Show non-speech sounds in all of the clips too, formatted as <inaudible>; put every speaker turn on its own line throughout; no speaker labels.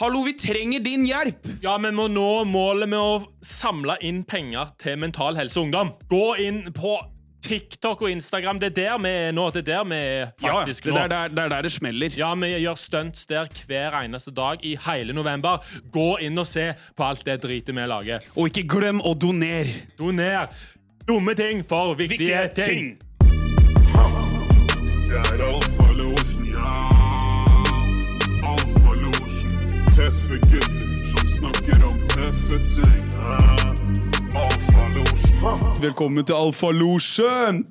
Hallo, vi trenger din hjelp!
Ja, vi må nå målet med å samle inn penger til Mental Helse Ungdom. Gå inn på TikTok og Instagram. Det er der vi er nå. Det er der vi er
Ja, det
faktisk
er
nå.
der, der, der, der det smeller.
Ja, vi gjør stunts der hver eneste dag i hele november. Gå inn og se på alt det dritet vi lager.
Og ikke glem å donere!
Doner dumme ting for viktige, ting.
Jeg er alfalåsen, ja. Alfalåsen. Tøffe gutter som snakker om tøffe ting. Ja. Alfalåsen.
Velkommen til Alfalosjen!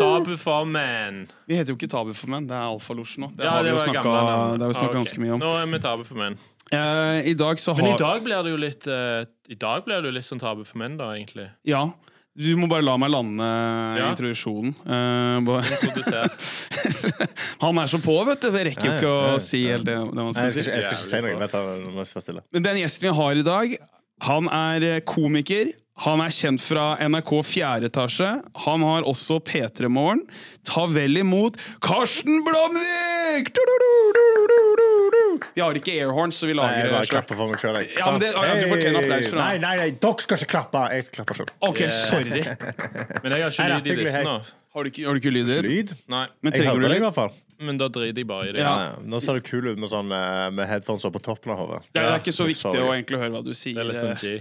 Tabu for menn.
Vi heter jo ikke Tabu for menn, det er Alfalosjen nå. Det
Ja,
har vi jo
var
snakka
gamle navn.
det har vi snakket
Ah, ok.
ganske mye om.
Nå er vi tabu for menn.
Eh, I dag så har
Men i dag blir det jo litt eh, I dag blir det jo litt sånn tabu for menn, da, egentlig.
Ja. Du må bare la meg lande
Ja.
introduksjonen. Eh, bare-
Produsert.
<laughs> han er så på, vet du. Jeg rekker jo
Ja,
ikke
ja,
å si helt det, det man
Nei,
skal
jeg, skal,
si.
ikke- jeg skal ikke si noe. Vent, da, nå må jeg være stille.
Men den gjesten vi har i dag, han er eh, komiker. Han er kjent fra NRK 4 etasje. Han har også P3 Morgen. Ta vel imot Karsten Blomvik! Du, du, du, du, du, du, du. Vi har ikke airhorn, så vi
Nei,
lager
jeg
eh,
bare
det selv.
klapper for meg sjøl.
Ja, men det- ja, du fortjener applaus for det.
Nei, nei, nei, dere skal ikke klappe. Jeg skal klappe sjøl.
Ok, sorry.
Men jeg har ikke
Nei,
lyd
da,
i
hyggelig,
disse
hei.
nå.
Har du ikke, har du ikke lyder?
Lyd?
Nei,
Men
Jeg
trenger
hører
du
det i
lyd?
hvert fall.
men da driter jeg bare i det.
Ja.
Ja, Nå ser du kul ut med, sånn, eh, med headphones opp på toppen av hodet.
Det er ikke så
Ja,
viktig
sorry.
å egentlig høre hva du sier.
Det er litt sånn G.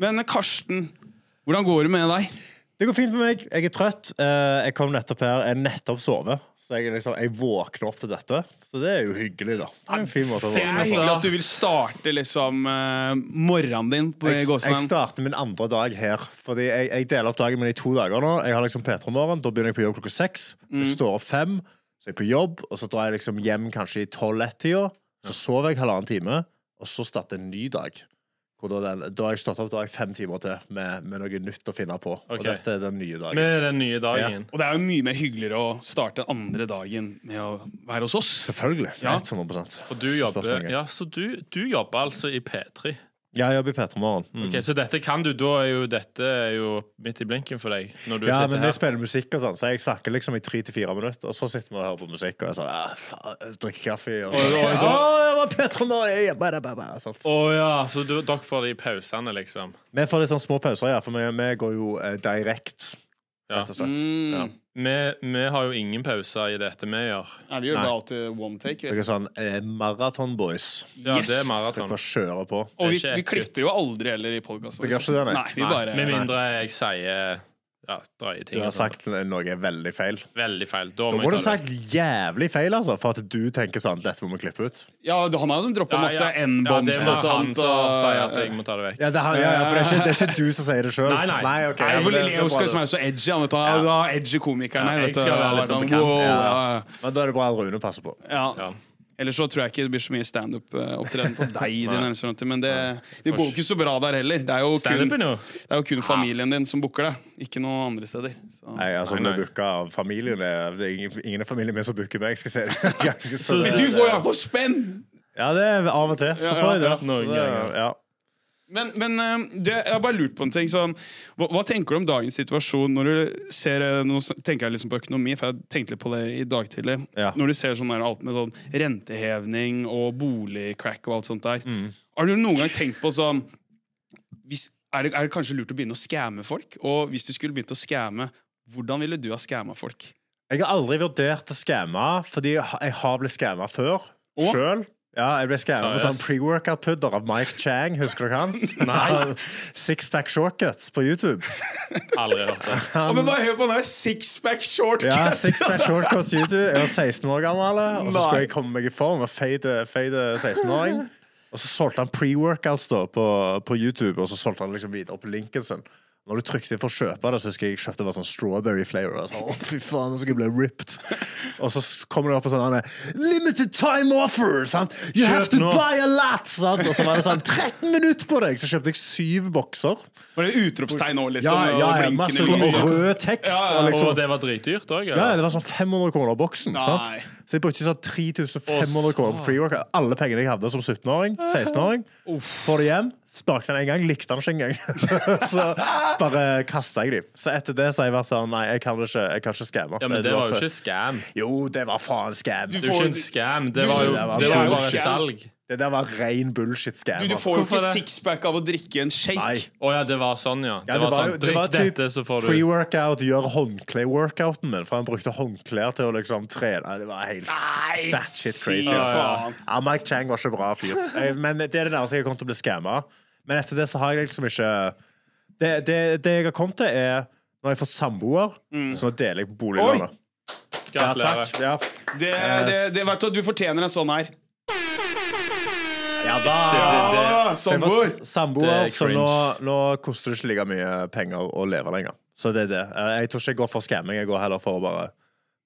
Men eh, Karsten, hvordan går det med deg?
Det går fint med meg. Jeg er trøtt. Eh, Jeg kom nettopp her. Jeg nettopp sovet. Så jeg, er liksom, jeg våkner opp til dette. Så det er jo hyggelig, da. Det er en fin måte å
Det er
våkne på.
hyggelig at du vil starte liksom eh, morgenen din på
Jeg,
sånn-
jeg
gåsehud.
starter min andre dag her. Fordi jeg, jeg deler opp dagen min i to dager nå. Jeg har liksom P3-morgen, da begynner jeg på jobb klokka seks. Så
Mm.
står jeg opp fem, så er jeg på jobb, og så drar jeg liksom hjem kanskje i tolv-ett-tida. Så sover jeg halvannen time, og så starter en ny dag. Hvor da, den, da har jeg stått opp da har jeg fem timer til med, med noe nytt å finne på.
Ok.
Og dette er den nye dagen.
Med den nye dagen.
Og det er jo mye mer hyggeligere å starte andre dagen med å være hos oss.
Selvfølgelig.
Ja.
100
Og du jobber,
Spørsmålet.
ja, så du, du jobber altså i P3.
Ja, jeg jobber i P3-morgen. Mm.
Ok, så dette kan du. Da er jo dette er jo midt i blinken for deg. Når du
Ja, men
sitter
jeg
her.
spiller musikk og sånn, så jeg snakker liksom i tre til fire minutter, og så sitter vi og hører på musikk, og jeg sånn «Ah, faen, jeg Drikker kaffe
Og-
og
og-
Å, jeg var Petra Marie, jeg bare, bare, bare», sånt.
Å ja, så du, dere får det i pausene, liksom.
Vi får litt sånn små pauser, ja, for vi, vi går jo eh, direkte,
Ja.
rett og slett.
Mm.
Ja.
Vi, vi har jo ingen pauser i dette vi gjør.
Nei, vi gjør
Nei.
det alltid one take.
Dere
Vi.
er sånn eh, maratonboys.
Ja,
Yes.
det er
Dere
maraton.
bare kjører på.
Og vi,
Det er
vi
ikke
klipper jo aldri heller i podkasten.
Det gjør ikke det, nei.
vi bare
Med mindre jeg sier ja, drøye
Du
ting. og
har
sånt.
sagt noe veldig feil.
Veldig feil. Da
Da
må
må du
jeg ta
ha
det.
sagt jævlig feil, altså, for at du tenker sånn Dette må vi klippe ut.
Ja, han har jo droppa
Ja,
masse
ja. Ja, det
n-bombs
var
og
han
sånt.
som
og-
sier at jeg må ta det vekk.
Ja, det er, ja, ja, for det er, ikke, det er ikke du som sier det sjøl.
Nei, nei.
Nei, for Leo skal liksom være så edgy. Han vet du, Han er edgy komikeren her.
Ja,
Vet du. Liksom,
jeg skal være litt sånn på kant.
Wow,
Ja.
ja.
Men da er det bra at Rune passer på.
Ja.
Ja.
Ellers så tror jeg ikke det blir så mye standup-opptreden
<laughs>
på deg. i din nærmeste fremtid, Men det, det går jo ikke så bra der heller. Det er jo
Standup er
kun,
nå.
det er jo kun familien din som booker deg, ikke noe andre steder. Så.
Nei, altså
Nei,
nei,
nei.
booka av familien er, det er ingen, ingen i familien min som booker meg. Jeg skal se det. Så
Men
det-
Men du får i hvert fall spenn!
Ja, det er av og til. Så
Ja,
får jeg
ja,
det.
ja.
Så
Noen
det
ganger.
ja.
Men, men eh, det, jeg har bare lurt på en ting. sånn, hva, hva tenker du om dagens situasjon? Når du ser, eh, Nå s- tenker jeg liksom på økonomi, for jeg tenkte litt på det i dag tidlig.
Ja.
Når du ser sånn der, alt med sånn rentehevning og boligcrack og alt sånt der.
Mm.
Har du noen gang tenkt på sånn hvis, er, det, er det kanskje lurt å begynne å skamme folk? Og hvis du skulle begynt å skamme, hvordan ville du ha skamma folk?
Jeg har aldri vurdert å skamme, fordi jeg har blitt skamma før.
Å?
Sjøl. Ja, jeg ble skamma på
Seriøst?
sånn pre-workout-pudder av Mike Chang. Husker dere han?
Nei.
Sixpack shortcuts på YouTube.
Aldri hørt
<laughs>
det.
Ja, men bare hør på den der sixpack shortcut!
Ja, Sixpack shortcuts YouTube. Jeg var 16 år gammel, og så skulle jeg komme meg i form. Og feide, feide 16-åring. eh, Og så solgte han pre-workouts da på, på YouTube, og så solgte han liksom videre på linken sin. Når du trykte for å kjøpe det, så husker jeg jeg kjøpte bare sånn strawberry flavor. Og så, å, fy faen, nå skal jeg bli ripped. Og så s- kommer det opp en sånn han er, Limited time offer! Sant? You have to
nå.
buy a lot! Sant? Og så var det sånn 13 minutter på deg! Så kjøpte jeg syv bokser.
<laughs> Var det utropstegn nå, liksom?
Ja, ja,
og
ja,
blinkende
masse sånn
lys?
rød rød tekst.
Ja, ja,
og
Og
liksom,
det var dritdyrt òg,
ja,
eller?
det var sånn 500 kroner boksen.
Nei.
Sant? Så jeg brukte sånn 3500 kroner på pre-workout. Alle pengene jeg hadde som 17-åring, 16-åring. Får det hjem. Smakte den en gang, likte den ikke engang. <laughs> så bare kasta jeg dem. Så etter det så har jeg vært sånn Nei, jeg kan det ikke jeg kan ikke skamme.
Ja, men det var jo ikke scam.
Jo, det var faen skam.
Du
Det er jo ikke en scam. Det var jo,
Det var
det var jo
jo
bare et
scam.
salg.
Det Det der var ren bullshit-scam.
Du, du
altså.
får jo ikke
Hvorfor det?
sixpack av å drikke en shake.
Nei.
Å ja, det var sånn, ja. Det
Ja,
var, sånn,
jo- det
Drikk
var typ
dette, så får du
Pre-workout gjør håndkle-workouten min, for han brukte håndklær til å liksom trene. Nei, Det var helt batshit crazy.
Fy
altså.
faen.
Ja, Mike Chang var ikke bra fyr. Eh, Men det er det nærmeste jeg har kommet til å bli skamma. Men etter det så har jeg liksom ikke Det, det, det jeg har kommet til, er Nå har jeg fått samboer, så nå deler jeg på boliglånet. Ja,
Gratulerer.
takk. Ja.
Det,
Eh,
det, det, vet du, du fortjener en sånn her.
ja da!
Det- det-
Ah,
Så jeg har
Samboer!
fått Samboer,
Det er
så
cringe.
nå, nå koster det ikke like mye penger å leve lenger. Så det er det. Eh, Jeg tror ikke jeg går for skamming. Jeg går heller for å bare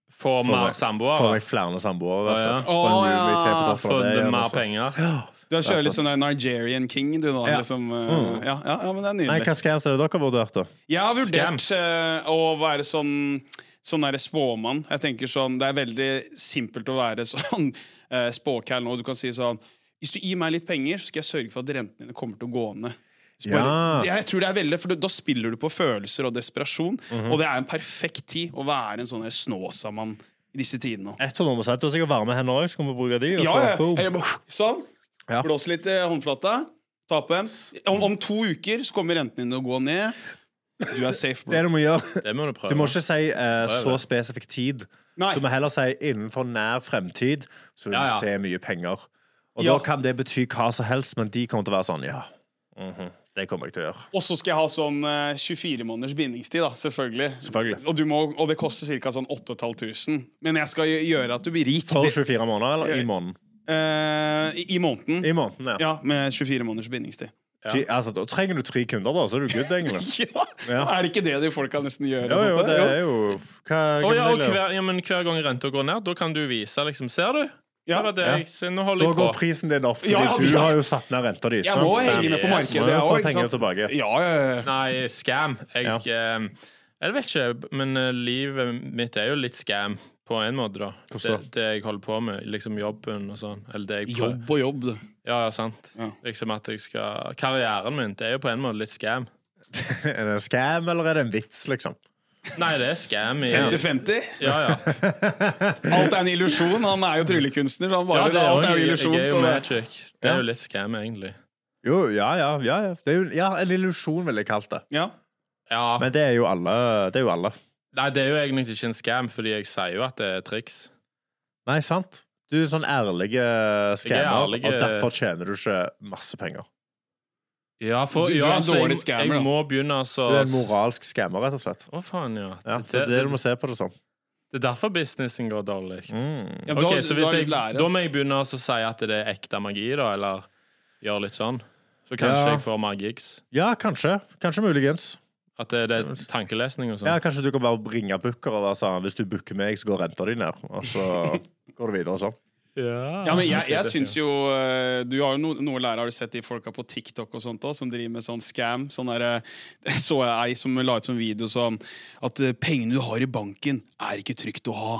Får
Får
mer
meg- Får
samboere.
meg flere samboere.
Å, ja.
rett og slett. Får en
Å, ja.
roomie til på toppen av
Får
det altså.
du
igjen
mer
også.
penger.
Du er
Det er
kjører litt
sant.
sånn der Nigerian king, du nå.
Ja.
Liksom, eh,
Mm.
ja, ja, ja, men det er
Nei,
nydelig.
hva scams er det dere har vurdert, da?
Jeg har vurdert eh, å være sånn Sånn der spåmann. Jeg tenker sånn, Det er veldig simpelt å være <laughs> sånn uh, spåkall nå. Du kan si sånn Hvis du gir meg litt penger, så skal jeg sørge for at rentene dine kommer til å gå ned. Så bare,
Ja.
det- Jeg tror det er veldig, for Da spiller du på følelser og desperasjon,
Mhm.
og det er en perfekt tid å være en sånn der snåsamann i disse tidene. nå.
Et sånn nummer sett. Du har sikkert varme hender òg, så kan vi bruke de. og
Ja,
så-
ja.
boom.
Jeg bare, sånn.
Ja.
Blås litt i håndflata. Ta på en. Om, om to uker så kommer renten din til å gå ned. Du er safe,
Det
bro.
du
<laughs>
må gjøre
Det må du prøve.
Du må ikke si eh, så spesifikk tid.
Nei.
Du må heller si innenfor nær fremtid, så vil
Ja, ja.
du se mye penger. Og
Ja.
da kan det bety hva som helst, men de kommer til å være sånn Ja, mhm, det kommer jeg til å gjøre.
Og så skal jeg ha sånn eh, 24 måneders bindingstid, da, selvfølgelig.
Selvfølgelig.
Og, du må, og det koster ca. Sånn 8500. Men jeg skal gjø- gjøre at du blir rik
For
det,
24 måneder, eller i måneden?
eh, i, i måneden.
I måneden, ja.
Ja, med 24 måneders bindingstid. <laughs>
Gee, Altså, da trenger du tre kunder, da, så er du good, egentlig.
Ja.
Ja.
Er det ikke det de folka nesten gjør?
Jo,
og
jo,
sånt,
det
da?
er jo Hva
Å ja,
hva
og
vil jeg gjøre?
hver, ja, men hver gang renta går ned, da kan du vise, liksom. Ser du?
Ja.
Det var det
Ja.
jeg, så nå holder
Da
jeg
går
på.
prisen din opp, fordi
Ja,
du
ja.
har jo satt ned renta di.
Jeg må
sant?
henge med på
Yes.
markedet,
Må jo
jeg
få
òg.
penger tilbake.
Ja, ja, ja.
Nei, scam. Jeg,
Ja.
eh, jeg vet ikke, men eh, livet mitt er jo litt scam på en måte, da. Det,
Hvordan da?
det jeg holder på med, liksom jobben og sånn. Eller det jeg prøver.
Jobb og jobb, du.
Ja, ja, sant.
Ja.
Liksom at jeg skal Karrieren min, det er jo på en måte litt scam.
<laughs> Er det en scam, eller er det en vits, liksom?
Nei, det er scam igjen.
50-50?
Ja, ja.
Alt er en illusjon. Han er jo tryllekunstner, så han bare
ja det er jo,
alt er jo
jeg,
illusjon.
jeg er
Så
jo
det.
magic. Det er jo litt scam, egentlig.
Jo, ja, ja. ja, ja. Det er jo, ja en illusjon, ville jeg kalt det.
Ja.
Ja.
Men det er jo alle. Det er jo alle.
Nei, det er jo egentlig ikke en scam, fordi jeg sier jo at det er triks.
Nei, sant? Du er sånn ærlige scammer,
eh,
ærlige-
og derfor tjener du ikke masse penger.
Ja, for,
Du- du
ja,
er en
så jeg-
dårlig scammer, da.
Jeg må begynne altså
Du er en moralsk scammer, rett og slett.
Å, faen, ja.
Ja,
Det,
det er det du
det,
må se på det som. Mm.
det er derfor businessen går dårlig.
Ja, men
Ok,
da,
så
da
hvis
er
jeg,
det læres.
da må jeg begynne altså å si at det er ekte magi, da, eller gjøre litt sånn. Så kanskje
Ja.
jeg får mer gigs.
Ja, kanskje. Kanskje muligens.
At det, det er tankelesning og sånn.
Ja, Kanskje du kan bare ringe booker og være sånn Hvis du booker meg, så går renta di ned. Og så
<laughs>
går det videre sånn.
Ja, men jeg, jeg syns jo eh, Du har jo no, noe å lære. Har du sett de folka på TikTok og sånt også, som driver med sånn scam? Sånn der, eh, <laughs> det så jeg ei som la ut sånn video sånn at eh, pengene du har i banken, er ikke trygt å ha.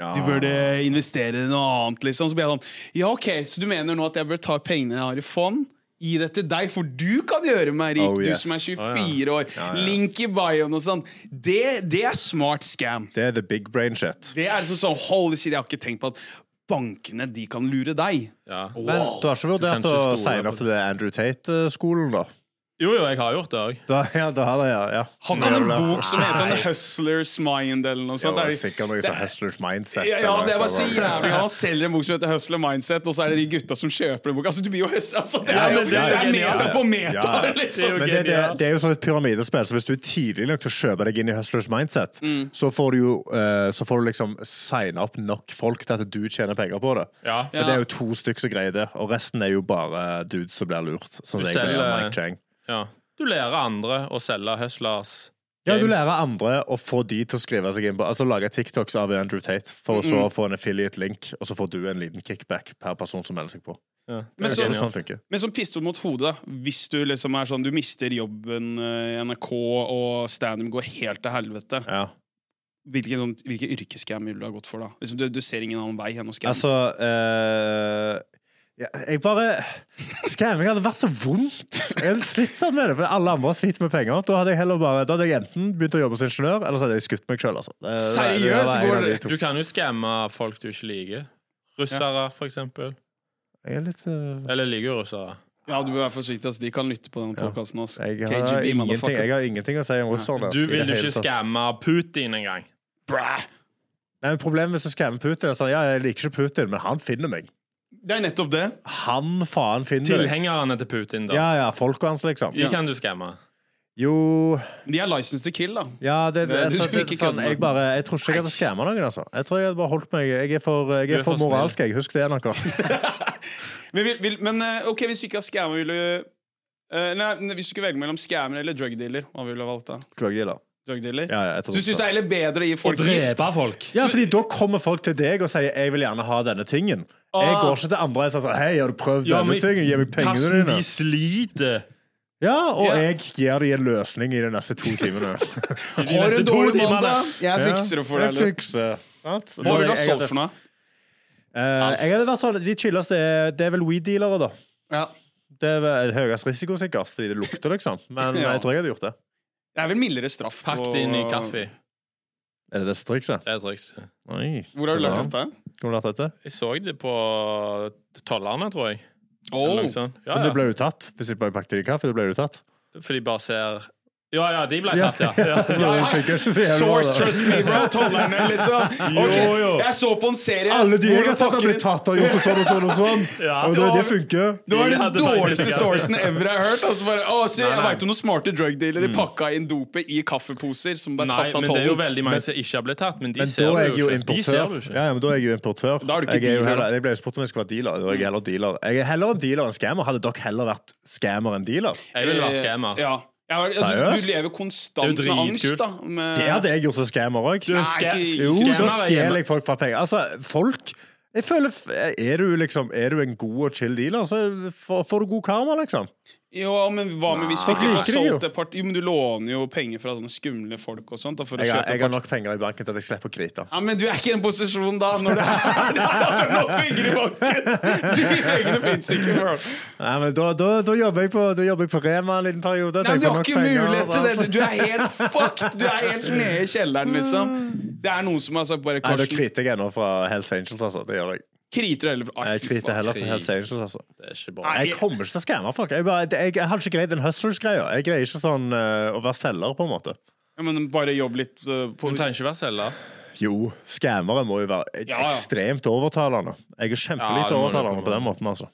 Ja.
Du burde investere i noe annet, liksom. Så blir jeg sånn Ja, OK, så du mener nå at jeg bør ta pengene jeg har i fond? Gi det til deg, for du kan gjøre meg rik,
Oh, yes.
du som er 24 år.
Ja, ja.
Link i bioen og sånn. Det, det er smart scam.
Det er the big brain shit.
Det er liksom sånn Holy shit, jeg har ikke tenkt på at bankene, de kan lure deg.
Ja.
Men du har ikke
kan
vurdert
ikke
å
stole
signe
på
opp til det Andrew Tate-skolen, da?
Jo, jo, jeg har gjort det
<laughs>
òg.
da? Ja, da har det, ja. ja.
Han kan en bok som heter en Hustler's Mind eller noe
Jo,
sånt. Det
det er
er-
sikkert noe
det-
sånn hustlers mindset.
ja, ja,
eller
det var
noe
så
sånt.
jævlig. Han selger en bok som heter Hustler Mindset, og så er det de gutta som kjøper den boka. Altså, du blir jo høst... Altså, det
Ja,
er, jo,
men
det
det er jo
er
genialt.
meta på
Ja,
meta,
ja.
liksom!
Men det, det, det er jo sånn et pyramidespill, så hvis du er tidlig nok til å kjøpe deg inn i hustlers mindset,
Mm.
så får du jo eh, så får du liksom signe opp nok folk til at du tjener penger på det.
Ja.
Men det er jo to stykker som greier det, og resten er jo bare dudes som blir lurt. Sånn som jeg ble av
selger-
Mike Chang.
Ja. Du lærer andre å selge hustlers.
Ja, du lærer andre å få de til å skrive seg inn på Altså lage TikToks av Andrew Tate, for så å få en affiliate-link, og så får du en liten kickback per person som melder seg på.
Ja.
Men
Det
så-
er sånn det funker.
Men som pistol mot hodet, da. hvis du liksom er sånn Du mister jobben eh, i NRK, og standup går helt til helvete.
Ja.
Hvilken sånn, hvilke yrkesskam ville du ha gått for, da? Liksom, du, du ser ingen annen vei enn å skamme.
Altså eh, ja, Jeg bare Skremming hadde vært så vondt. Jeg hadde slitt sånn med det, for alle andre sliter med penger. Da hadde jeg heller bare Da hadde jeg enten begynt å jobbe som ingeniør, eller så hadde jeg skutt meg sjøl. Altså. Det- det- det- det var
Seriøst,
en
går
av de
det-
to.
Du kan jo skamme folk du ikke liker. Russere, for eksempel.
Jeg er litt eh,
Eller liker jo russere.
Ja, du bør være forsiktig. Altså. De kan lytte på denne podkasten også.
jeg, har
KGB,
ingenting,
motherfucker.
jeg har ingenting å si om russerne.
Du
i det
vil jo
hele
ikke
tatt.
skamme Putin engang.
Bra.
Nei, men Problemet hvis du skammer Putin er sånn, Ja, jeg liker ikke Putin, men han finner meg.
Det er nettopp det.
Han faen finner meg.
Tilhengerne til Putin, da.
Ja, ja, folka hans, liksom.
De kan du skamme.
Jo
De er license to kill, da.
Ja, det, det,
Det er du
så,
som
det,
ikke
sånn,
kødder med.
jeg, bare, jeg tror ikke jeg hadde skamma noen, altså. Jeg tror jeg hadde bare holdt meg Jeg er for, jeg
Du
er
er
for
for snill.
moralsk, jeg. Husk det, noe.
Men, vil, vil, men eh, ok, hvis du ikke har scammer, vil du eh, Nei, hvis du skulle velge mellom scammer eller drug dealer, hva ville du valgt da?
Drug dealer.
Drug dealer?
Ja, ja, jeg tror
Så du syns det er heller bedre å gi folk gift?
Drepe folk.
Ja, fordi da kommer folk til deg og sier 'jeg vil gjerne ha denne tingen'. Jeg
Ah.
går ikke til andre og sier sånn 'hei, har du prøvd
Ja,
denne
men
tingen? Gi meg pengene
Kassen,
dine'.
de sliter.
Ja, og
Ja.
jeg gir dem en løsning i de neste to timene.
de
Har du
neste
en
to
dårlig
timene.
mandag? Jeg
Ja,
fikser det for deg.
Jeg
eller?
fikser. Sant?
Hva
Det er
vil du ha
det jeg
solgt
hadde-
for noe?
Eh, jeg hadde vært sånn, De chilleste er- det er vel weed-dealere, da.
Ja.
Det er vel høyest risiko, sikkert, fordi det lukter, liksom. Men
Ja.
jeg tror jeg hadde gjort det.
Det er vel mildere straff.
Pakk
på-
det inn i kaffe.
Er det det som trikset?
Det er trikset.
Nei.
Hvor har du
Så
lært
bra.
dette?
Hvor har du lært dette?
Jeg så det på tollerne, tror jeg. Eller
Oh.
noe sånt. Ja,
Men det
ja.
ble jo tatt. Hvis jeg bare pakket det i kaffe, det ble jo tatt.
For de bare ser Ja, ja, de ble
Ja.
tatt,
<laughs>
ja. ja.
Så det funker ikke så jævlig bra,
<laughs> Source,
da.
trust me, bro. Tollerne, liksom. Ok,
Jo, jo.
Jeg så på en serie
Alle de
hvor
jeg
det
har sett har
pakker
blitt
inn-
tatt og gjort og sånn og sånn og sånn.
Ja.
Og det, det funker.
Det var
De
den
hadde
dårligste
faktisk-
sourcen ever jeg har hørt. Altså bare, å, se, jeg vet om noen smarte drugdealere De pakka inn dopet i kaffeposer som ble
Mm. Nei,
tatt av
men det er jo
tollen.
veldig mange som ikke har blitt tatt, men de
Men
ser
da er
det
jeg jo
jo ikke. De ser
importør.
det jo ikke.
Ja, ja, men da er jeg jo importør.
Da er du ikke
jeg, er jo
dealer,
heller, jeg ble jo spurt om jeg skulle være dealer. Da er jeg heller dealer. Jeg er heller en dealer enn scammer. Hadde dere heller vært scammer enn dealer?
Jeg vil være skammer.
Eh, Ja. Ja, altså,
Seriøst?
du lever konstant
Det er jo
med angst,
dritkult.
da. Med,
Det hadde jeg gjort som scammer òg.
Du,
Nei,
ska-
ikke-
Jo, da
skammer deg hjemme.
stjeler jeg folk fra penger. Altså, folk jeg føler, f- Er du liksom Er du en god og chill dealer, så får får du god karma, liksom.
Jo, men hva med hvis du
Nei.
ikke får
Liker det jo.
solgt et part Jo, men du låner jo penger fra sånne skumle folk og sånt da, for å
Jeg har,
kjøpe
jeg
et
har
part.
nok penger i banken til at jeg slipper å krite.
Ja, men du er ikke i en posisjon da når det er <laughs> der at du har nok penger i banken! De pengene fins ikke, bro.
Nei, men da, da, da, jobber jeg på, da jobber jeg på Rema en liten periode.
Nei,
til
men
jeg
du
får
har
nok
ikke
penger,
mulighet til
da.
det! Du- Du er
<laughs>
helt fucked! Du er helt nede i kjelleren, liksom. Det er noen som har sagt bare
Nei, da
Karsten,
kriter jeg ennå fra Hells Angels, altså. Det gjør jeg.
kriter du heller Ai,
Jeg
fy
kriter
faen.
heller fra Hells Angels, altså.
Det er ikke bra.
Nei.
Jeg kommer ikke til å skamme folk. Jeg, bare, jeg, jeg hadde ikke greid den hustlers-greia. Jeg greier ikke sånn eh, å være selger, på en måte.
Ja, men bare jobb litt uh, på
Du trenger ikke være selger.
Jo, skammere må jo være e-
Ja, ja.
ekstremt overtalende. Jeg er
Ja, det
kjempelite
må du på
overtalende på den måten, altså.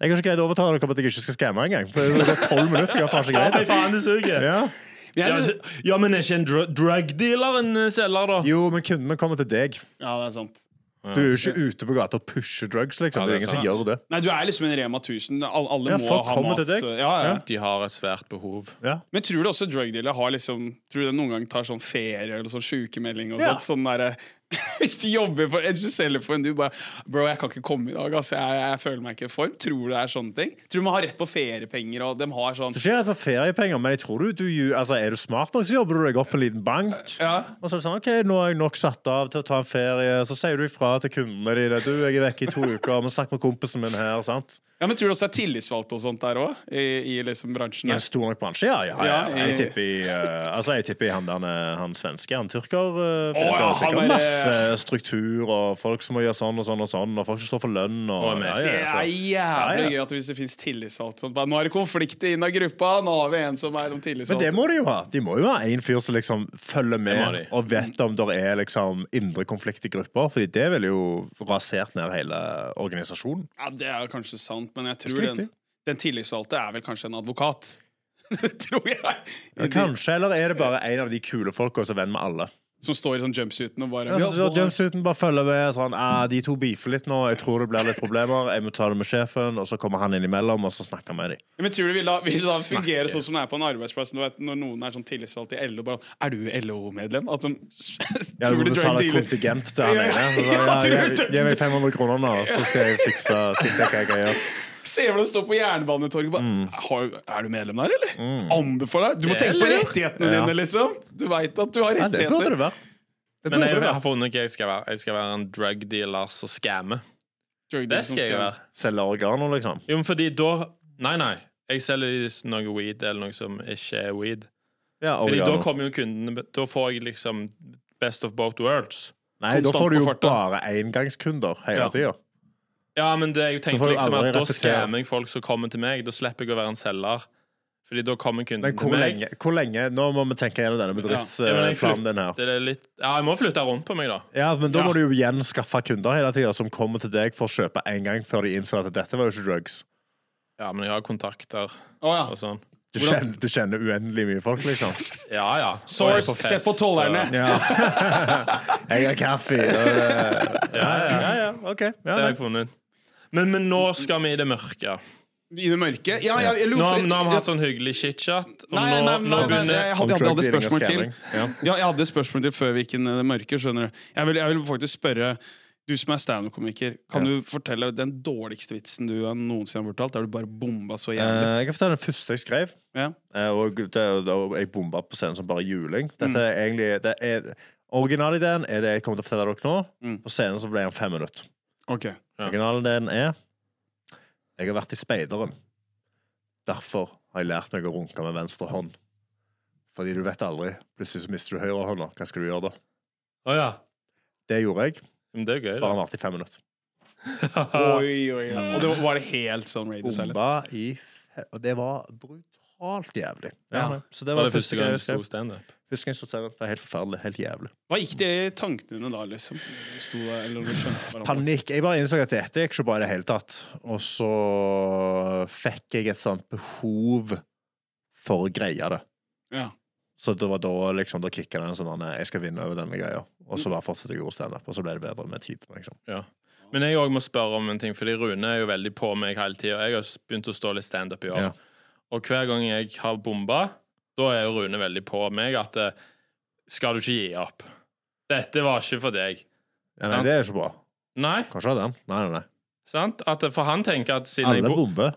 Jeg har ikke greid å overtale dere om at jeg ikke skal skamme engang. For det har gått tolv minutter. Jeg har faen ikke greid det.
faen, du suger!
Ja.
Men jeg
Ja,
synes-
så- ja, men er ikke en dru drug dealer en eh, selger, da?
Jo, men kundene kommer til deg.
Ja, det er sant.
Du er jo ikke ute på gata og pusher drugs, liksom.
Ja, det
det er
er
ingen som
sant.
gjør det.
Nei, du er liksom en Rema 1000. Alle, alle
Ja,
må
folk
ha
kommer
mat.
til deg.
så- Ja, ja.
Ja.
De har et svært behov.
Ja.
Men tror du også drugdealer har liksom Tror du de noen gang tar sånn ferie eller sånn sykemelding og
Ja.
sånt? Sånn derre <laughs> Hvis du jobber for en du selger for en du bare Bro, jeg kan ikke komme i dag, altså. Jeg, jeg føler meg ikke i form. Tror du det er sånne ting? Tror du man har rett på feriepenger og de har sånn
Det skjer på feriepenger, men jeg tror du, du ju- altså, er du smart nok, så jobber du deg opp på en liten bank.
Ja.
Og så er det sånn, ok, nå har jeg nok satt av til å ta en ferie. Så sier du ifra til kundene dine. Du, jeg er vekke i to uker, men snakk med kompisen min her. sant?
ja, men tror du også det er tillitsvalgte og sånt der òg? I, I liksom bransjen?
I
der?
en stor nok bransje, ja. ja, ja.
Ja, i-
Jeg tipper i, eh, altså, jeg tipper i han, der, eh, han svenske, han tyrker. eh,
Å, ja,
det er
han
sikkert
er-
masse eh, struktur og folk som må gjøre sånn og sånn og sånn, og folk som står for lønn. Og,
Og mest.
Det er jævlig
Ja, ja.
gøy at hvis det finnes tillitsvalgte sånn, bare, Nå er det konflikt innad i gruppa, nå har vi en som er de
Men det
tillitsvalgte.
må de jo ha. De må jo ha en fyr som liksom følger
må
med
de.
og vet om det er liksom indre konflikt i grupper, fordi det ville jo rasert ned hele organisasjonen.
Ja, det er kanskje sant, men jeg tror
Ganske
den,
riktig.
den tillitsvalgte er vel kanskje en advokat. <laughs> Det tror jeg.
Kanskje, eller er det bare en av de kule folka som er venn med alle?
Som står i sånn jumpsuiten og bare
Ja, så
«Ja,
Jumpsuiten bare følger med sånn ah, 'De to beefer litt nå, jeg tror det blir litt problemer.' 'Jeg må ta det med sjefen.' Og så kommer han innimellom, og så snakker han med dem.
Men tror du vil da, vil da fungere
Snakker.
sånn som det er på en arbeidsplass når, når noen er sånn tillitsvalgt i LO? Bare, er du LO-medlem? At de <laughs>
Ja, du
tror
må
du drug
betale
dealer
kontingent til han
Ja,
ene. Så
ja,
sa,
tror
Ja,
du-
gi- gi meg 500 kroner nå, så skal jeg fikse, fikse hva jeg kan gjøre.
Se hvordan du står på Jernbanetorget bare
Mm.
har, Er du medlem der, eller? Anbefaler deg! Du må
Det er
tenke på
lurt.
rettighetene
Ja.
dine, liksom! Du veit at du har
Ja, det burde
rettigheter.
det være. Det
Men
burde
jeg
det
har
være.
funnet hva jeg skal være. Jeg skal være en drug dealer som skammer.
Drug dealer
Det
som
skal jeg være.
Selge organer, liksom.
Jo, men fordi da Nei, nei. Jeg selger de s- noe weed eller noe som ikke er weed.
Ja,
Fordi da
organer.
kommer jo kundene Da får jeg liksom best of both worlds.
Nei, da
Konstant
får du
på
jo
farta.
bare engangskunder hele
Ja.
tida.
Ja, Ja, men det, jeg
får
tenkte
du
liksom
aldri
at da
repetere.
skammer jeg folk som kommer til meg. Da slipper jeg å være en selger. Fordi da kommer kunden
Men
til
hvor
meg.
lenge, hvor lenge Nå må vi tenke gjennom denne
Ja, men jeg
bedriftsplanen din her.
Det er litt, ja, jeg må flytte rundt på meg, da.
Ja, men da må du jo igjen skaffe kunder hele tida som kommer til deg for å kjøpe en gang før de innser at dette var jo ikke drugs.
Ja, men jeg har kontakter
Å ja.
og sånn.
Du
Hvordan-
kjenner, du kjenner uendelig mye folk, liksom.
<laughs> Ja, ja. Og jeg er
Source, se
fest,
på tollerne.
så-
Ja. <laughs> jeg har kaffe. Og,
Ja, ja, ja.
OK. Ja,
Det har
nei.
jeg funnet. Men, men nå skal vi i det mørke.
I det mørke? Ja, ja, jeg
Nå,
lurer
har- nå har vi hatt sånn hyggelig chitchat, og
Nei,
nå,
nei,
nå
nei, nei,
begynner
jeg hadde, jeg hadde
Drug dealing og
spørsmål til.
scamming. Ja.
Ja, jeg hadde spørsmål til før vi gikk inn i det mørke, skjønner du. Jeg vil, jeg vil faktisk spørre, du som er stand-up-komiker, kan du fortelle den dårligste vitsen du har noensinne har fortalt, der du bare bomba så jævlig?
Eh, jeg kan fortelle den første jeg skrev.
Ja.
Eh, og det, og jeg bomba på scenen som bare juling. Dette er egentlig det er, Originalideen er det jeg kommer til å fortelle dere nå.
Mm.
På scenen så ble den fem minutter.
Ok.
Ja.
Originalideen er Jeg har vært i speideren. Derfor har jeg lært meg å runke med venstre hånd. Fordi du vet aldri. Plutselig så mister du høyrehånda. Hva skal du gjøre da?
Å ja.
Det gjorde jeg.
Men det er jo gøy,
Bare
da.
han varte i fem minutter.
<laughs>
Oi, oi, oi. Og det var, var det helt sånn Ray Desillet?
Bomba i fe- Og det var brutalt jævlig.
Ja.
Så det
Var
var,
det første gang
gang
du
jeg skrev.
sto standup?
Første gang jeg stod stand-up, det var helt forferdelig. Helt jævlig.
Hva gikk det i tankene dine da, liksom? Du Sto der, eller du skjønte hverandre?
Panikk. Jeg bare innså at dette gikk ikke bra i det hele tatt. Og så fikk jeg et sånt behov for å greie det.
Ja.
Så det var da liksom, da kicka den sånn at jeg skal vinne over denne greia. Og så bare fortsatte jeg å gjøre standup, og så ble det bedre med tid. liksom.
Ja. Men jeg òg må spørre om en ting, fordi Rune er jo veldig på meg hele tida. Jeg har begynt å stå litt standup i år.
Ja.
Og hver gang jeg har bomba, da er jo Rune veldig på meg at eh, skal du ikke gi opp? Dette var ikke for deg.
Ja, nei,
Sant.
det er ikke bra.
Nei,
Kanskje den. Nei, nei, nei.
sant? At, eh, for han tenker at siden
Alle
jeg bo
bomber.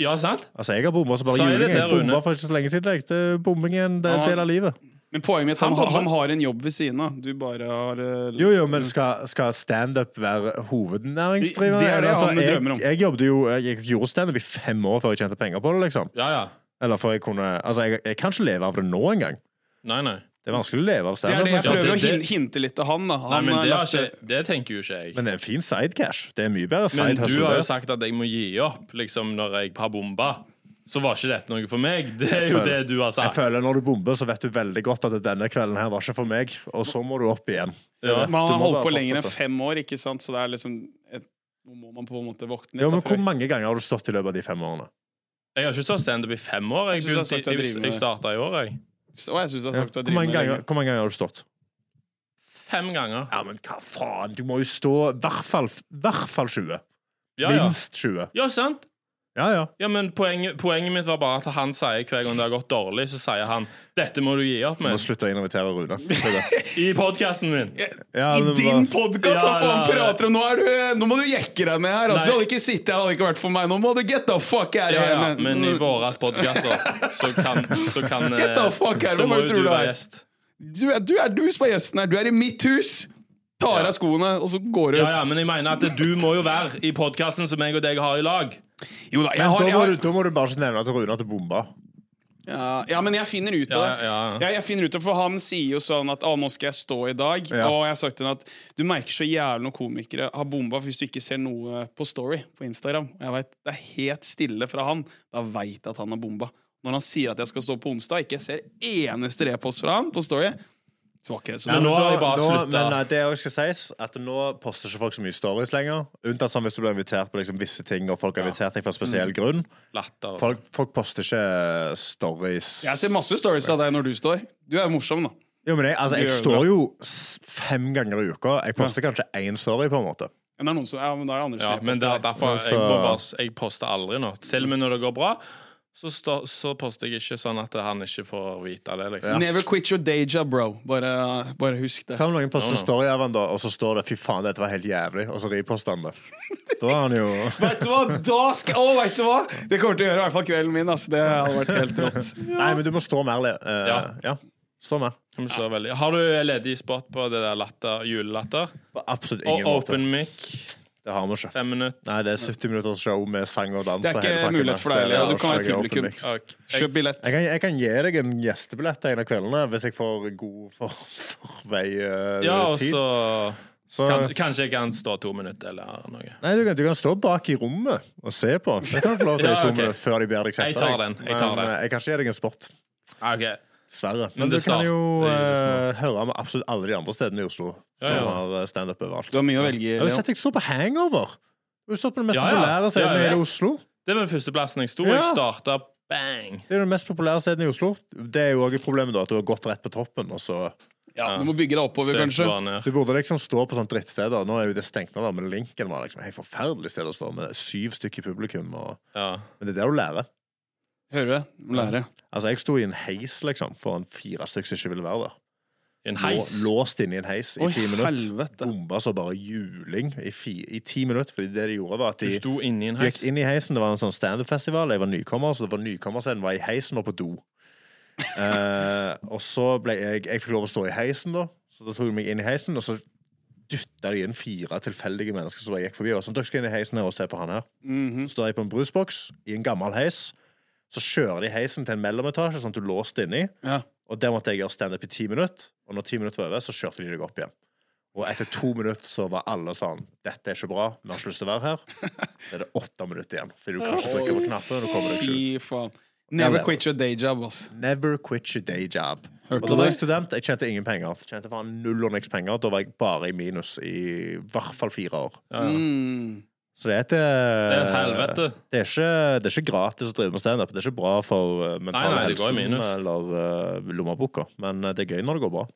Ja, sant?
Altså, jeg har bomba, så bare
Sa jeg det
juling. Jeg
til Rune?
bomba for ikke så lenge siden. Jeg. Det er bombing er en del,
Ja.
del av livet.
Men poenget mitt, han,
Han
han,
bomba.
har en jobb ved siden av. Du bare har eh,
Jo, jo, men skal, skal standup være hovednæringsdrivende? Altså,
Det er det han
jeg,
drømmer om.
Jeg jobbet jo, eh, jeg gjorde standup i fem år før jeg tjente penger på det, liksom.
Ja, ja.
Eller før jeg kunne Altså, jeg, jeg kan ikke leve av det nå engang.
Nei, nei.
Det er vanskelig å leve
Det
av
er
standup.
det jeg
Ja,
men-
prøver
det-
å hin- hinte litt til han, da. Han
nei men
har
det, har
lagt det-
ikke, det tenker jo ikke jeg.
Men det er en fin sidecash. Det er mye bedre
Men
sidehustle.
du har jo
det.
sagt at jeg må gi opp liksom, når jeg har bomba. Så var ikke dette noe for meg. Det er jo det
føler-
du har
Jeg
sagt.
føler Når du bomber, så vet du veldig godt at denne kvelden her var ikke for meg, og så må du opp igjen.
Ja.
Men han
Du
har
må
holdt
bare
på lenger enn
fortsette.
fem år, ikke sant? Så det er liksom et, Nå må man på en måte våkne litt.
Ja,
da,
men
for-
Hvor mange ganger har du stått i løpet av de fem årene?
Jeg har ikke stått standup i fem år. Jeg,
Jeg synes jeg har sagt
begynte-
at jeg
jeg,
driver
jeg,
med det.
starta i år, jeg.
Å, jeg synes du har sagt du har
Hvor
drevet
mange,
med
ganger,
lenge.
hvor mange ganger har du stått?
Fem ganger.
Ja, men hva faen? Du må jo stå i hvert fall, hvert fall 20.
Ja, ja.
Minst 20.
ja sant?
Ja, ja.
Ja, men poenget, poenget mitt var bare at han sier hver gang det har gått dårlig, så sier han 'Dette må du gi opp
Du må
med'
slutte å invitere
<laughs>
Rune. Det er det.
i podkasten min.
Ja,
I
men det
din
var-
podkast!
Ja,
Hva faen
ja, ja.
prater du om? Nå, er du, nå må du jekke deg ned her! Altså.
Nei.
Det hadde ikke sittet her, det hadde ikke vært for meg. Nå må du get the fuck out of
Ja,
here!
ja,
man.
men i våre podkaster så kan, så kan eh,
Get the fuck out,
Så
hva
må
er
jo
det
du
tror du
være
er?
gjest.
du, er, du er du som er gjesten her! Du er i mitt hus! Tar av skoene, og så går du ut.
Ja, ja, men jeg mener at du må jo være i podkasten som jeg og deg har i lag.
Jo da, jeg
Men
har,
da,
jeg
må
har
du, da må du bare ikke nevne til Rune at du bomba.
ja, ja, men jeg finner ut av
Ja,
det.
ja, ja.
Ja, jeg finner ut det, for Han sier jo sånn at «Å, 'nå skal jeg stå i dag'.
Ja.
Og jeg har sagt til han at du merker så jævlig når komikere har bomba hvis du ikke ser noe på Story på Instagram. Og jeg vet, Det er helt stille fra han. Da veit jeg at han har bomba. Når han sier at jeg skal stå på onsdag, ikke ser eneste repost fra han på Story, så var ikke det så
Ja,
bra.
nå har jeg bare
nå,
sluttet.
men eh, det også skal sies at nå poster ikke folk så mye stories lenger. Unntatt sånn hvis du blir invitert på liksom visse ting, og folk har invitert deg for en spesiell grunn.
Mm. Latter.
Folk, folk poster ikke eh, stories
Jeg ser masse stories av deg når du står. Du er jo morsom, da.
Jo, men jeg, altså, jeg
Du gjør det.
står jo s- fem ganger i uka. Jeg poster kanskje én story, på en måte.
Men det er noen som, ja, men da er det andre som
Ja, men det er
reposter.
derfor
Altså-
jeg, må bare, jeg poster aldri nå. Selv om når det går bra, så, stå, så poster jeg ikke sånn at han ikke får vite det. liksom.
Never quit your day job, bro. Bare, bare husk det.
Kan noen poste
No, no.
story av han da, og så står det 'fy faen, dette var helt jævlig', og så riposter han det? Da er han jo
<laughs>
Vet du hva? Da skal Å, vet du hva? Det kommer til å gjøre i hvert fall kvelden min. Altså. Det hadde vært helt rått.
Nei, men du må stå mer. Le. eh,
Ja.
ja. Stå mer.
Som slår veldig. Har du ledig spot på det der latter, julelatter?
På absolutt
Og
ingen måte.
open mic,
Det har vi ikke.
fem minutter.
Nei, det er 70 minutters show med sang og dans.
Det er
og
ikke
hele pakken
mulighet
der.
for deg,
Det er
Leo. Du kan være
arrangement, open
publikum.
mix.
Ok. Jeg,
Kjøp billett.
Jeg kan, jeg kan gi deg en gjestebillett en av kveldene hvis jeg får god for, for vei eh,
ja, og
tid.
så
Så,
Kanskje, kanskje jeg kan stå to minutter eller noe.
Nei, du kan, du kan stå bak i rommet og se på. Det kan du få lov til
<laughs>
i
Ja,
to
ok.
minutter før de ber deg sette
Jeg tar den, jeg tar
Men
den.
eh, jeg kan ikke gi deg en sport.
Ah, ok.
Dessverre. Men,
Men
du
det
kan
start-
jo
det er jo
eh, høre med absolutt alle de andre stedene i Oslo
Ja,
som
ja.
har eh, standup overalt.
Du har mye å velge i.
Jeg har
Leon.
sett deg stå på hangover. Du har stått på den mest
Ja, ja.
populære
Ja,
scenen
jeg
i hele
vet.
Oslo.
Det var den første plassen jeg sto.
Ja.
Jeg starta bang.
Det er den mest populære stedet i Oslo. Det er jo også et problem da, at du har gått rett på toppen. Og så,
Ja, du må bygge deg oppover, kanskje.
du burde liksom stå på sånne drittsteder. Nå er jo det stengt nå, da, men Linken var liksom et forferdelig sted å stå med syv stykker i publikum. Og,
Ja.
men det er der du lærer.
Hører du det? Må Lære.
Altså, jeg sto i en heis liksom, foran fire stykker som ikke ville være der.
I en heis.
Lå- Låst inne i en heis i
Oi,
ti minutter.
helvete.
Bomba så bare juling i, fi, i ti minutter, fordi det de gjorde, var at
Du
de
sto inni en
De gikk
heis.
inn i heisen. Det var en sånn standup-festival. Jeg var nykommer, så det var nykommerscenen var i heisen og på do. Eh, og så ble jeg Jeg fikk lov å stå i heisen, da. Så da tok de meg inn i heisen, og så dytta de inn fire tilfeldige mennesker som jeg gikk forbi. Og sånn, dere skal inn i heisen her og se på han her. Så står jeg på en brusboks i en gammel heis. Så kjører de heisen til en mellometasje, sånn at du er låst inni.
Ja.
Og der måtte jeg gjøre standup i ti minutter. Og når ti minutter var over, så kjørte de deg opp igjen. Og etter to minutter så var alle sånn Dette er ikke bra. Vi har ikke lyst til å være her. Så er det åtte minutter igjen. Fordi du kan ikke trykke på knappen. Og du kommer deg ikke ut.
Fy faen. Never
Ja, det-
quit your day job, ass.
Never quit your day job. Og
Hørte
da
du
var jeg
det?
student. Jeg tjente ingen penger. Jeg tjente faen null og niks penger. Da var jeg bare i minus i hvert fall fire år.
Ja, ja.
Mm.
Så det er et
Det er et helvete.
Det er, ikke, det er ikke gratis å drive med standup. Det er ikke bra for eh, mental
nei, det går i
helse
minus.
eller eh, lommeboka, men eh, det er gøy når det går bra.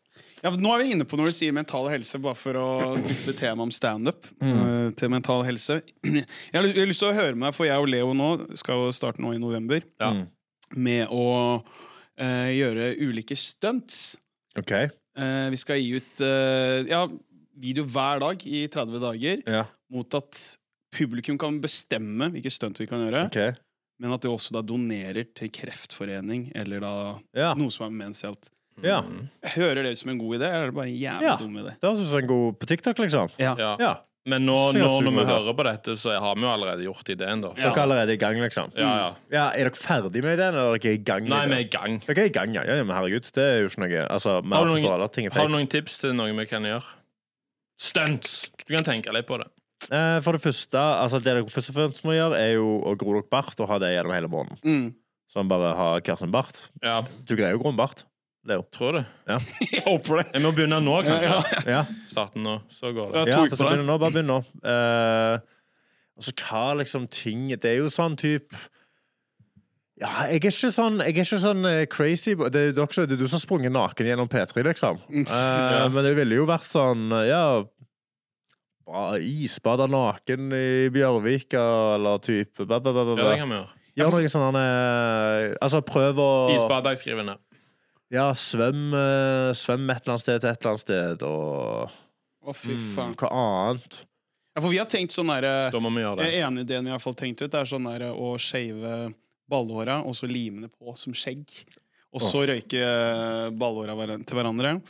Ja, nå er vi inne på når du sier mental helse, bare for å bytte tema om standup
Mm.
eh, til mental helse. Jeg har, lyst, jeg har lyst til å høre med deg, for jeg og Leo nå skal jo starte nå i november
Ja.
Mm.
med å eh, gjøre ulike stunts.
OK?
Eh, vi skal gi ut eh, ja, video hver dag i 30 dager
Ja.
mot at publikum kan bestemme hvilke stunt vi kan gjøre, men at det også da donerer til kreftforening eller da
Ja.
noe som er ment
ja.
Jeg Hører det ut som en god idé, eller er det bare en jævlig
Ja.
dum idé?
Det høres ut som en god på TikTok, liksom.
Ja.
Ja.
Men nå,
Ser
nå
så
når vi
god ut.
hører på dette, så har vi jo allerede gjort ideen, da.
Dere er allerede i gang, liksom.
Ja, ja.
Ja, Er dere ferdig med ideen, eller er dere i gang? med
Nei, vi er
ideen?
i gang.
Dere er i gang, ja. ja. ja, Men herregud, det er jo ikke noe Altså, vi
Har
har
du noen-
forstått alle at ting er
Har du
fake.
noen tips til noe vi kan gjøre? Stunts! Du kan tenke litt på det.
Eh, For det første, altså, det dere først og fremst må gjøre, er jo å gro dere bart og ha det gjennom hele måneden.
Mm.
Sånn bare ha Karsten Bart.
Ja,
Du greier jo å gro en bart. Leo.
tror det.
Jeg håper det.
<laughs> Jeg må begynne nå, kanskje.
Ja,
Ja.
Starten nå, så går det.
Ja.
Ja,
to
for
uker
så
på
begynner nå, bare begynn nå. Eh, altså, hva liksom ting Det er jo sånn type ja, jeg er ikke sånn, jeg er ikke sånn eh, crazy Det er jo dere som- det er du som har sprunget naken gjennom P3, liksom. Eh, men det ville jo vært sånn eh, Ja ba- Isbada naken i Bjørvika, eller type ba, ba, ba, ba,
Ja, det
ba.
kan vi gjøre.
Gjør noe sånn eh, Altså, prøv å
Isbad, jeg skriver ned.
Ja, svøm, eh, svøm et eller annet sted til et eller annet sted, og
Å, fy faen.
hva annet?
Ja, for vi har tenkt sånn derre
Da må vi gjøre det.
ene ideen vi har fått tenkt ut, er sånn derre å shave ballhåra og så lime det på som skjegg. Og så røyke eh, ballhåra hver- til hverandre.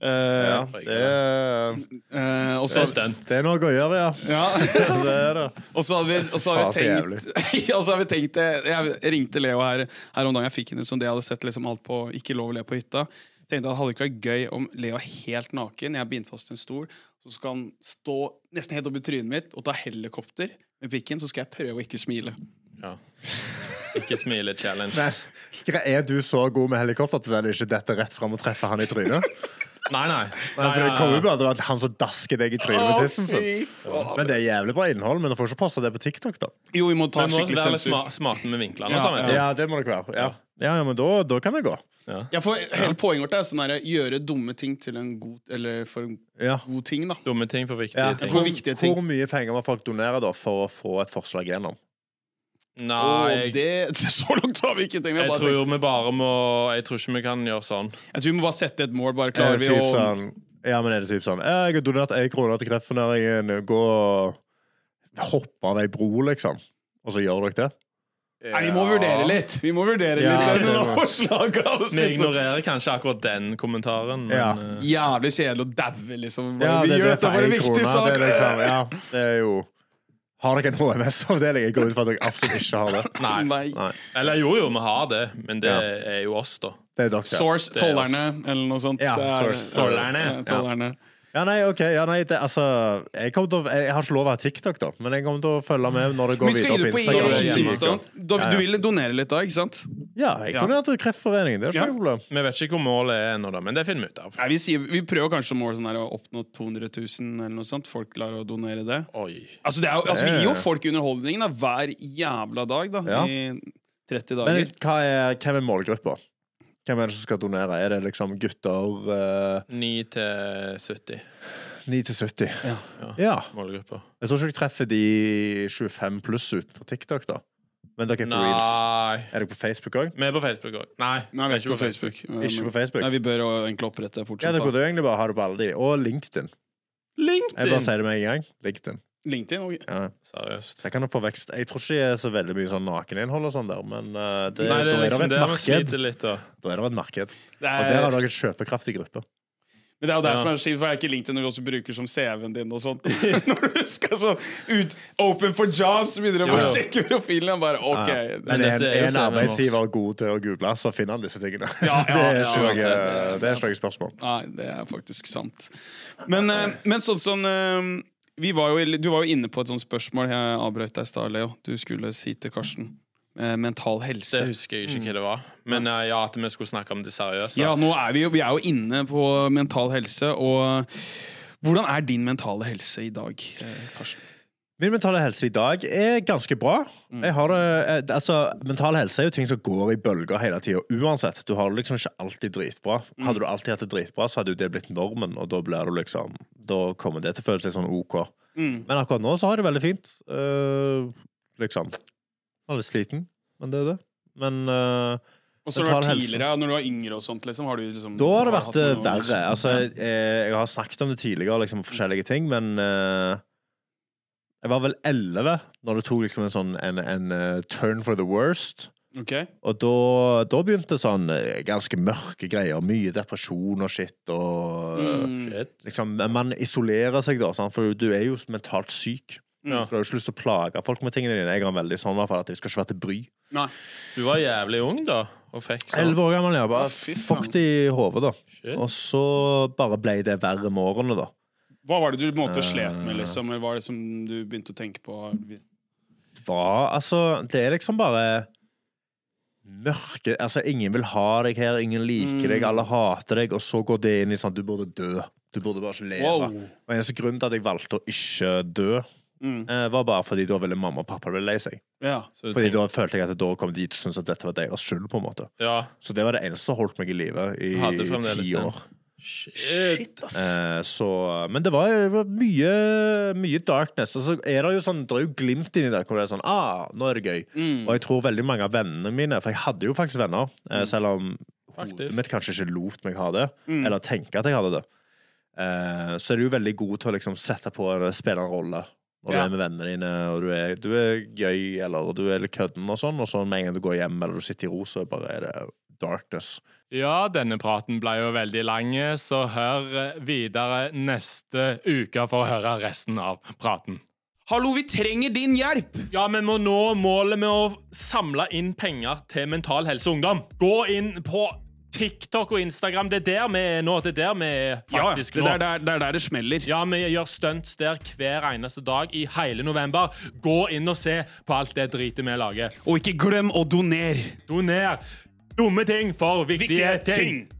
Eh,
Ja, det er
eh, og
Så
så
er stunt.
Det er noe å gjøre, ja.
<laughs> ja,
Det er det.
og så har vi, og så har vi
Faen,
tenkt <laughs> Og så har vi tenkt det Jeg ringte Leo her, her om dagen. Jeg fikk henne som det jeg hadde sett liksom alt på Ikke lov å le på hytta. Tenkte at Det hadde ikke vært gøy om Leo er helt naken, jeg er bindt fast til en stol, så skal han stå nesten helt oppi trynet mitt og ta helikopter med pikken, så skal jeg prøve å ikke smile.
Ja. Ikke smile-challenge.
Men Gre- er du så god med helikopter at den ikke detter rett fram og treffer han i trynet?
Nei, nei.
Nei, for Det
nei,
kommer
nei.
jo bare til å være han som dasker deg i trynet med tissen sin.
faen.
Men det er jævlig bra innhold, men du får ikke posta det på TikTok, da.
Jo, vi må ta
Vi må
skikkelig
være litt
sensur.
sma- smarte med vinklene.
Ja,
og sånn, vet du.
Ja, det må dere være. Ja, ja, ja men da, da kan det gå.
Ja, for hele poenget vårt er sånn her, gjøre dumme ting til en god Eller for en
Ja.
god ting, da.
Dumme ting for viktige
Ja.
ting.
For viktige ting.
Hvor mye penger må folk donere da for å få et forslag gjennom?
Nei,
Og
jeg,
det, <laughs> så langt har vi ikke tenkt. Vi har
jeg
bare
tror vi bare må Jeg tror ikke vi kan gjøre sånn.
Jeg tror vi må bare sette et mål. Bare
Er
klarer
det
vi
typ
å
sånn, ja, men er det typ sånn «Ja, Jeg har donert én krone til Kreftforeningen. Gå og hoppe av ei bro, liksom. Og så gjør dere det?
Nei, vi må vurdere litt! Vi må vurdere
Ja,
litt Det er
det må-
noen forslag av oss,
Vi
liksom.
ignorerer kanskje akkurat den kommentaren, men
Ja.
eh,
Jævlig kjedelig å daue, liksom. Bare,
Ja,
vi
det-
gjør
det er
dette
for
for en
en
viktig
krone,
sak!
Det
<laughs>
er, liksom, ja, det er jo Har dere en HMS-avdeling? Jeg går ut fra at dere absolutt ikke har det.
Nei.
Nei.
Nei,
Eller jo, jo, vi har det, men det
Ja.
er jo oss, da.
det er dere.
Source
Det er oss.
tollerne, eller noe sånt.
Ja,
Det er- eh,
source,
tollerne.
Ja, tollerne.
Ja, nei, ok. Ja, nei, det, altså, jeg, kommer til å, jeg har ikke lov å ha TikTok, da, men jeg kommer til å følge med når det går
Vi skal gi
videre
det
på
på
Instagram.
i-
og
i-
i-
Insta. Du,
Ja, ja.
du vil donere litt da, ikke sant?
Ja, jeg
Ja.
kunne hatt Kreftforeningen. Det er ikke
Ja.
noe problem.
Vi vet ikke hvor målet er ennå, da, men det finner vi ut av.
Nei, vi, sier, vi prøver kanskje mål sånn her, å oppnå 200 000 eller noe sånt. Folk klarer å donere det.
Oi.
Altså, det er, jo- altså Vi
Det er-
gir jo folk underholdningen da, hver jævla dag da,
Ja.
i 30 dager.
Men hva er, hvem er målgruppa? Hvem er det som skal donere? Er det liksom gutter eh,
9 til 70
9 til 70?
Ja.
Ja.
ja.
målgrupper.
Jeg tror ikke jeg treffer de 25 pluss utenfor TikTok, da. Men dere er på reels.
Nei
Er dere på Facebook òg?
Vi er på Facebook òg. Nei,
Nei, vi er ikke på Facebook.
Ikke på Facebook?
Nei, Vi bør jo egentlig opprette
Ja,
fortsatt.
dere
da.
burde jo egentlig bare ha det på alle de. Og LinkedIn. Jeg bare
LinkedIn!
sier det med en gang. LinkedIn.
LinkedIn ok.
Ja.
Seriøst.
Det kan nok få vekst. Jeg tror ikke det er så veldig mye sånn nakeninnhold og sånn der, men eh, det,
Nei, det er
da
liksom
er det
det
et
vi
marked.
sliter litt av.
Da er det et marked.
Det
Og der
er,
har dere et sjøpekraftig gruppe.
men det er jo der
Ja.
som er skitt, for det er ikke LinkedIn du også bruker som CV-en din og sånt. <laughs> Når du skal så ut Open for jobs, så begynner du
Jo,
bare å
jo.
sjekke profilen. Bare, ok
Ja.
det-
Men
dette
en,
er jo
en
CV-en
arbeidsgiver god til å google, så finner han disse tingene.
Ja, ja,
<laughs> det er
ja,
ikke noe- eh,
uansett.
det er ikke noe spørsmål.
Nei, det er faktisk sant. Men, eh, men sånn som eh, vi var jo, Du var jo inne på et sånt spørsmål jeg avbrøt deg i stad, Leo. Du skulle si til Karsten. Eh, mental
Det
helse.
husker jeg
Mm.
ikke hva det var. Men eh, ja, at vi skulle snakke om det seriøse.
Ja, nå er vi, jo, vi er jo inne på mental helse, og hvordan er din mentale helse i dag, eh, Karsten?
Min mentale helse i dag er ganske bra.
Mm.
Jeg har det, eh, altså, mental helse er jo ting som går i bølger hele tida uansett. Du har det liksom ikke alltid dritbra.
Mm.
Hadde du alltid hatt det dritbra, så hadde jo det blitt normen, og da blir du liksom Da kommer det til å føles litt sånn OK.
Mm.
Men akkurat nå så har jeg det veldig fint. Eh, liksom. Jeg er litt sliten, men det er det. Men eh,
Og så har du
Mental
vært
helse.
tidligere, når du var yngre og sånt, liksom, har du liksom
Da har det vært eh,
hatt noe-
verre. Altså, jeg, eh, jeg har snakket om det tidligere, liksom forskjellige ting, men eh, Jeg var vel elleve når det tok liksom en sånn en, en eh, turn for the worst.
Ok.
Og da, da begynte sånn eh, ganske mørke greier. Mye depresjon og shit. Og eh,
Mm.
Shit.
liksom, Man isolerer seg, da, sant? for du er jo mentalt syk.
Ja.
mm.
Så Du har jo ikke lyst til å plage folk med tingene dine. Jeg har en veldig sånn i hvert fall at jeg skal ikke være til bry.
Nei.
Du var jævlig ung da, og fikk sånn.
Elleve år gammel, ja.
Å,
Bare
fy faen.
fuck det i hodet, da.
Shit.
Og så bare ble det verre med årene, da.
Hva var det du på en måte
Eh.
slet med, liksom? Eller hva er det som du begynte å tenke på?
Hva? Altså, det er liksom bare mørke Altså, ingen vil ha deg her, ingen liker
Mm.
deg, alle hater deg, og så går det inn i sånn Du burde dø. Du burde bare ikke leve.
Wow.
Og eneste grunnen til at jeg valgte å ikke dø,
Mm.
eh, var bare fordi da ville mamma og pappa bli lei seg.
Ja.
Så du
Fordi
tenkte-
da følte jeg at da kom de til å synes at dette var deres skyld, på en måte.
ja.
Så det var det eneste som holdt meg i live i
Du hadde fremdeles
ti
den.
år.
Shit.
ass.
Eh, så, men det var, det var mye, mye darkness. Og så er det jo sånn, det er jo glimt inni der hvor det er sånn ah, nå er det gøy.
mm.
Og jeg tror veldig mange av vennene mine For jeg hadde jo faktisk venner, eh, selv om
Faktisk.
hodet mitt kanskje ikke lot meg ha det,
Mm.
eller tenke at jeg hadde det. Eh, så er du jo veldig god til å liksom sette på og spille en rolle når du
Ja.
er med vennene dine, og du er, du er gøy, eller du er litt kødden og sånn, og så med en gang du går hjem eller du sitter i ro, så bare er det darkness.
Ja, denne praten ble jo veldig lang, så hør eh, videre neste uke for å høre resten av praten.
Hallo, vi trenger din hjelp!
Ja, vi må nå målet med å samle inn penger til Mental Helse Ungdom. Gå inn på TikTok og Instagram. Det er der vi er nå. Det er der vi er
Ja, det
faktisk
er
nå.
der, der, der, der det smeller.
Ja, vi gjør stunts der hver eneste dag i hele november. Gå inn og se på alt det dritet vi lager.
Og ikke glem å donere!
Doner dumme ting for viktige,
Viktige ting.
ting.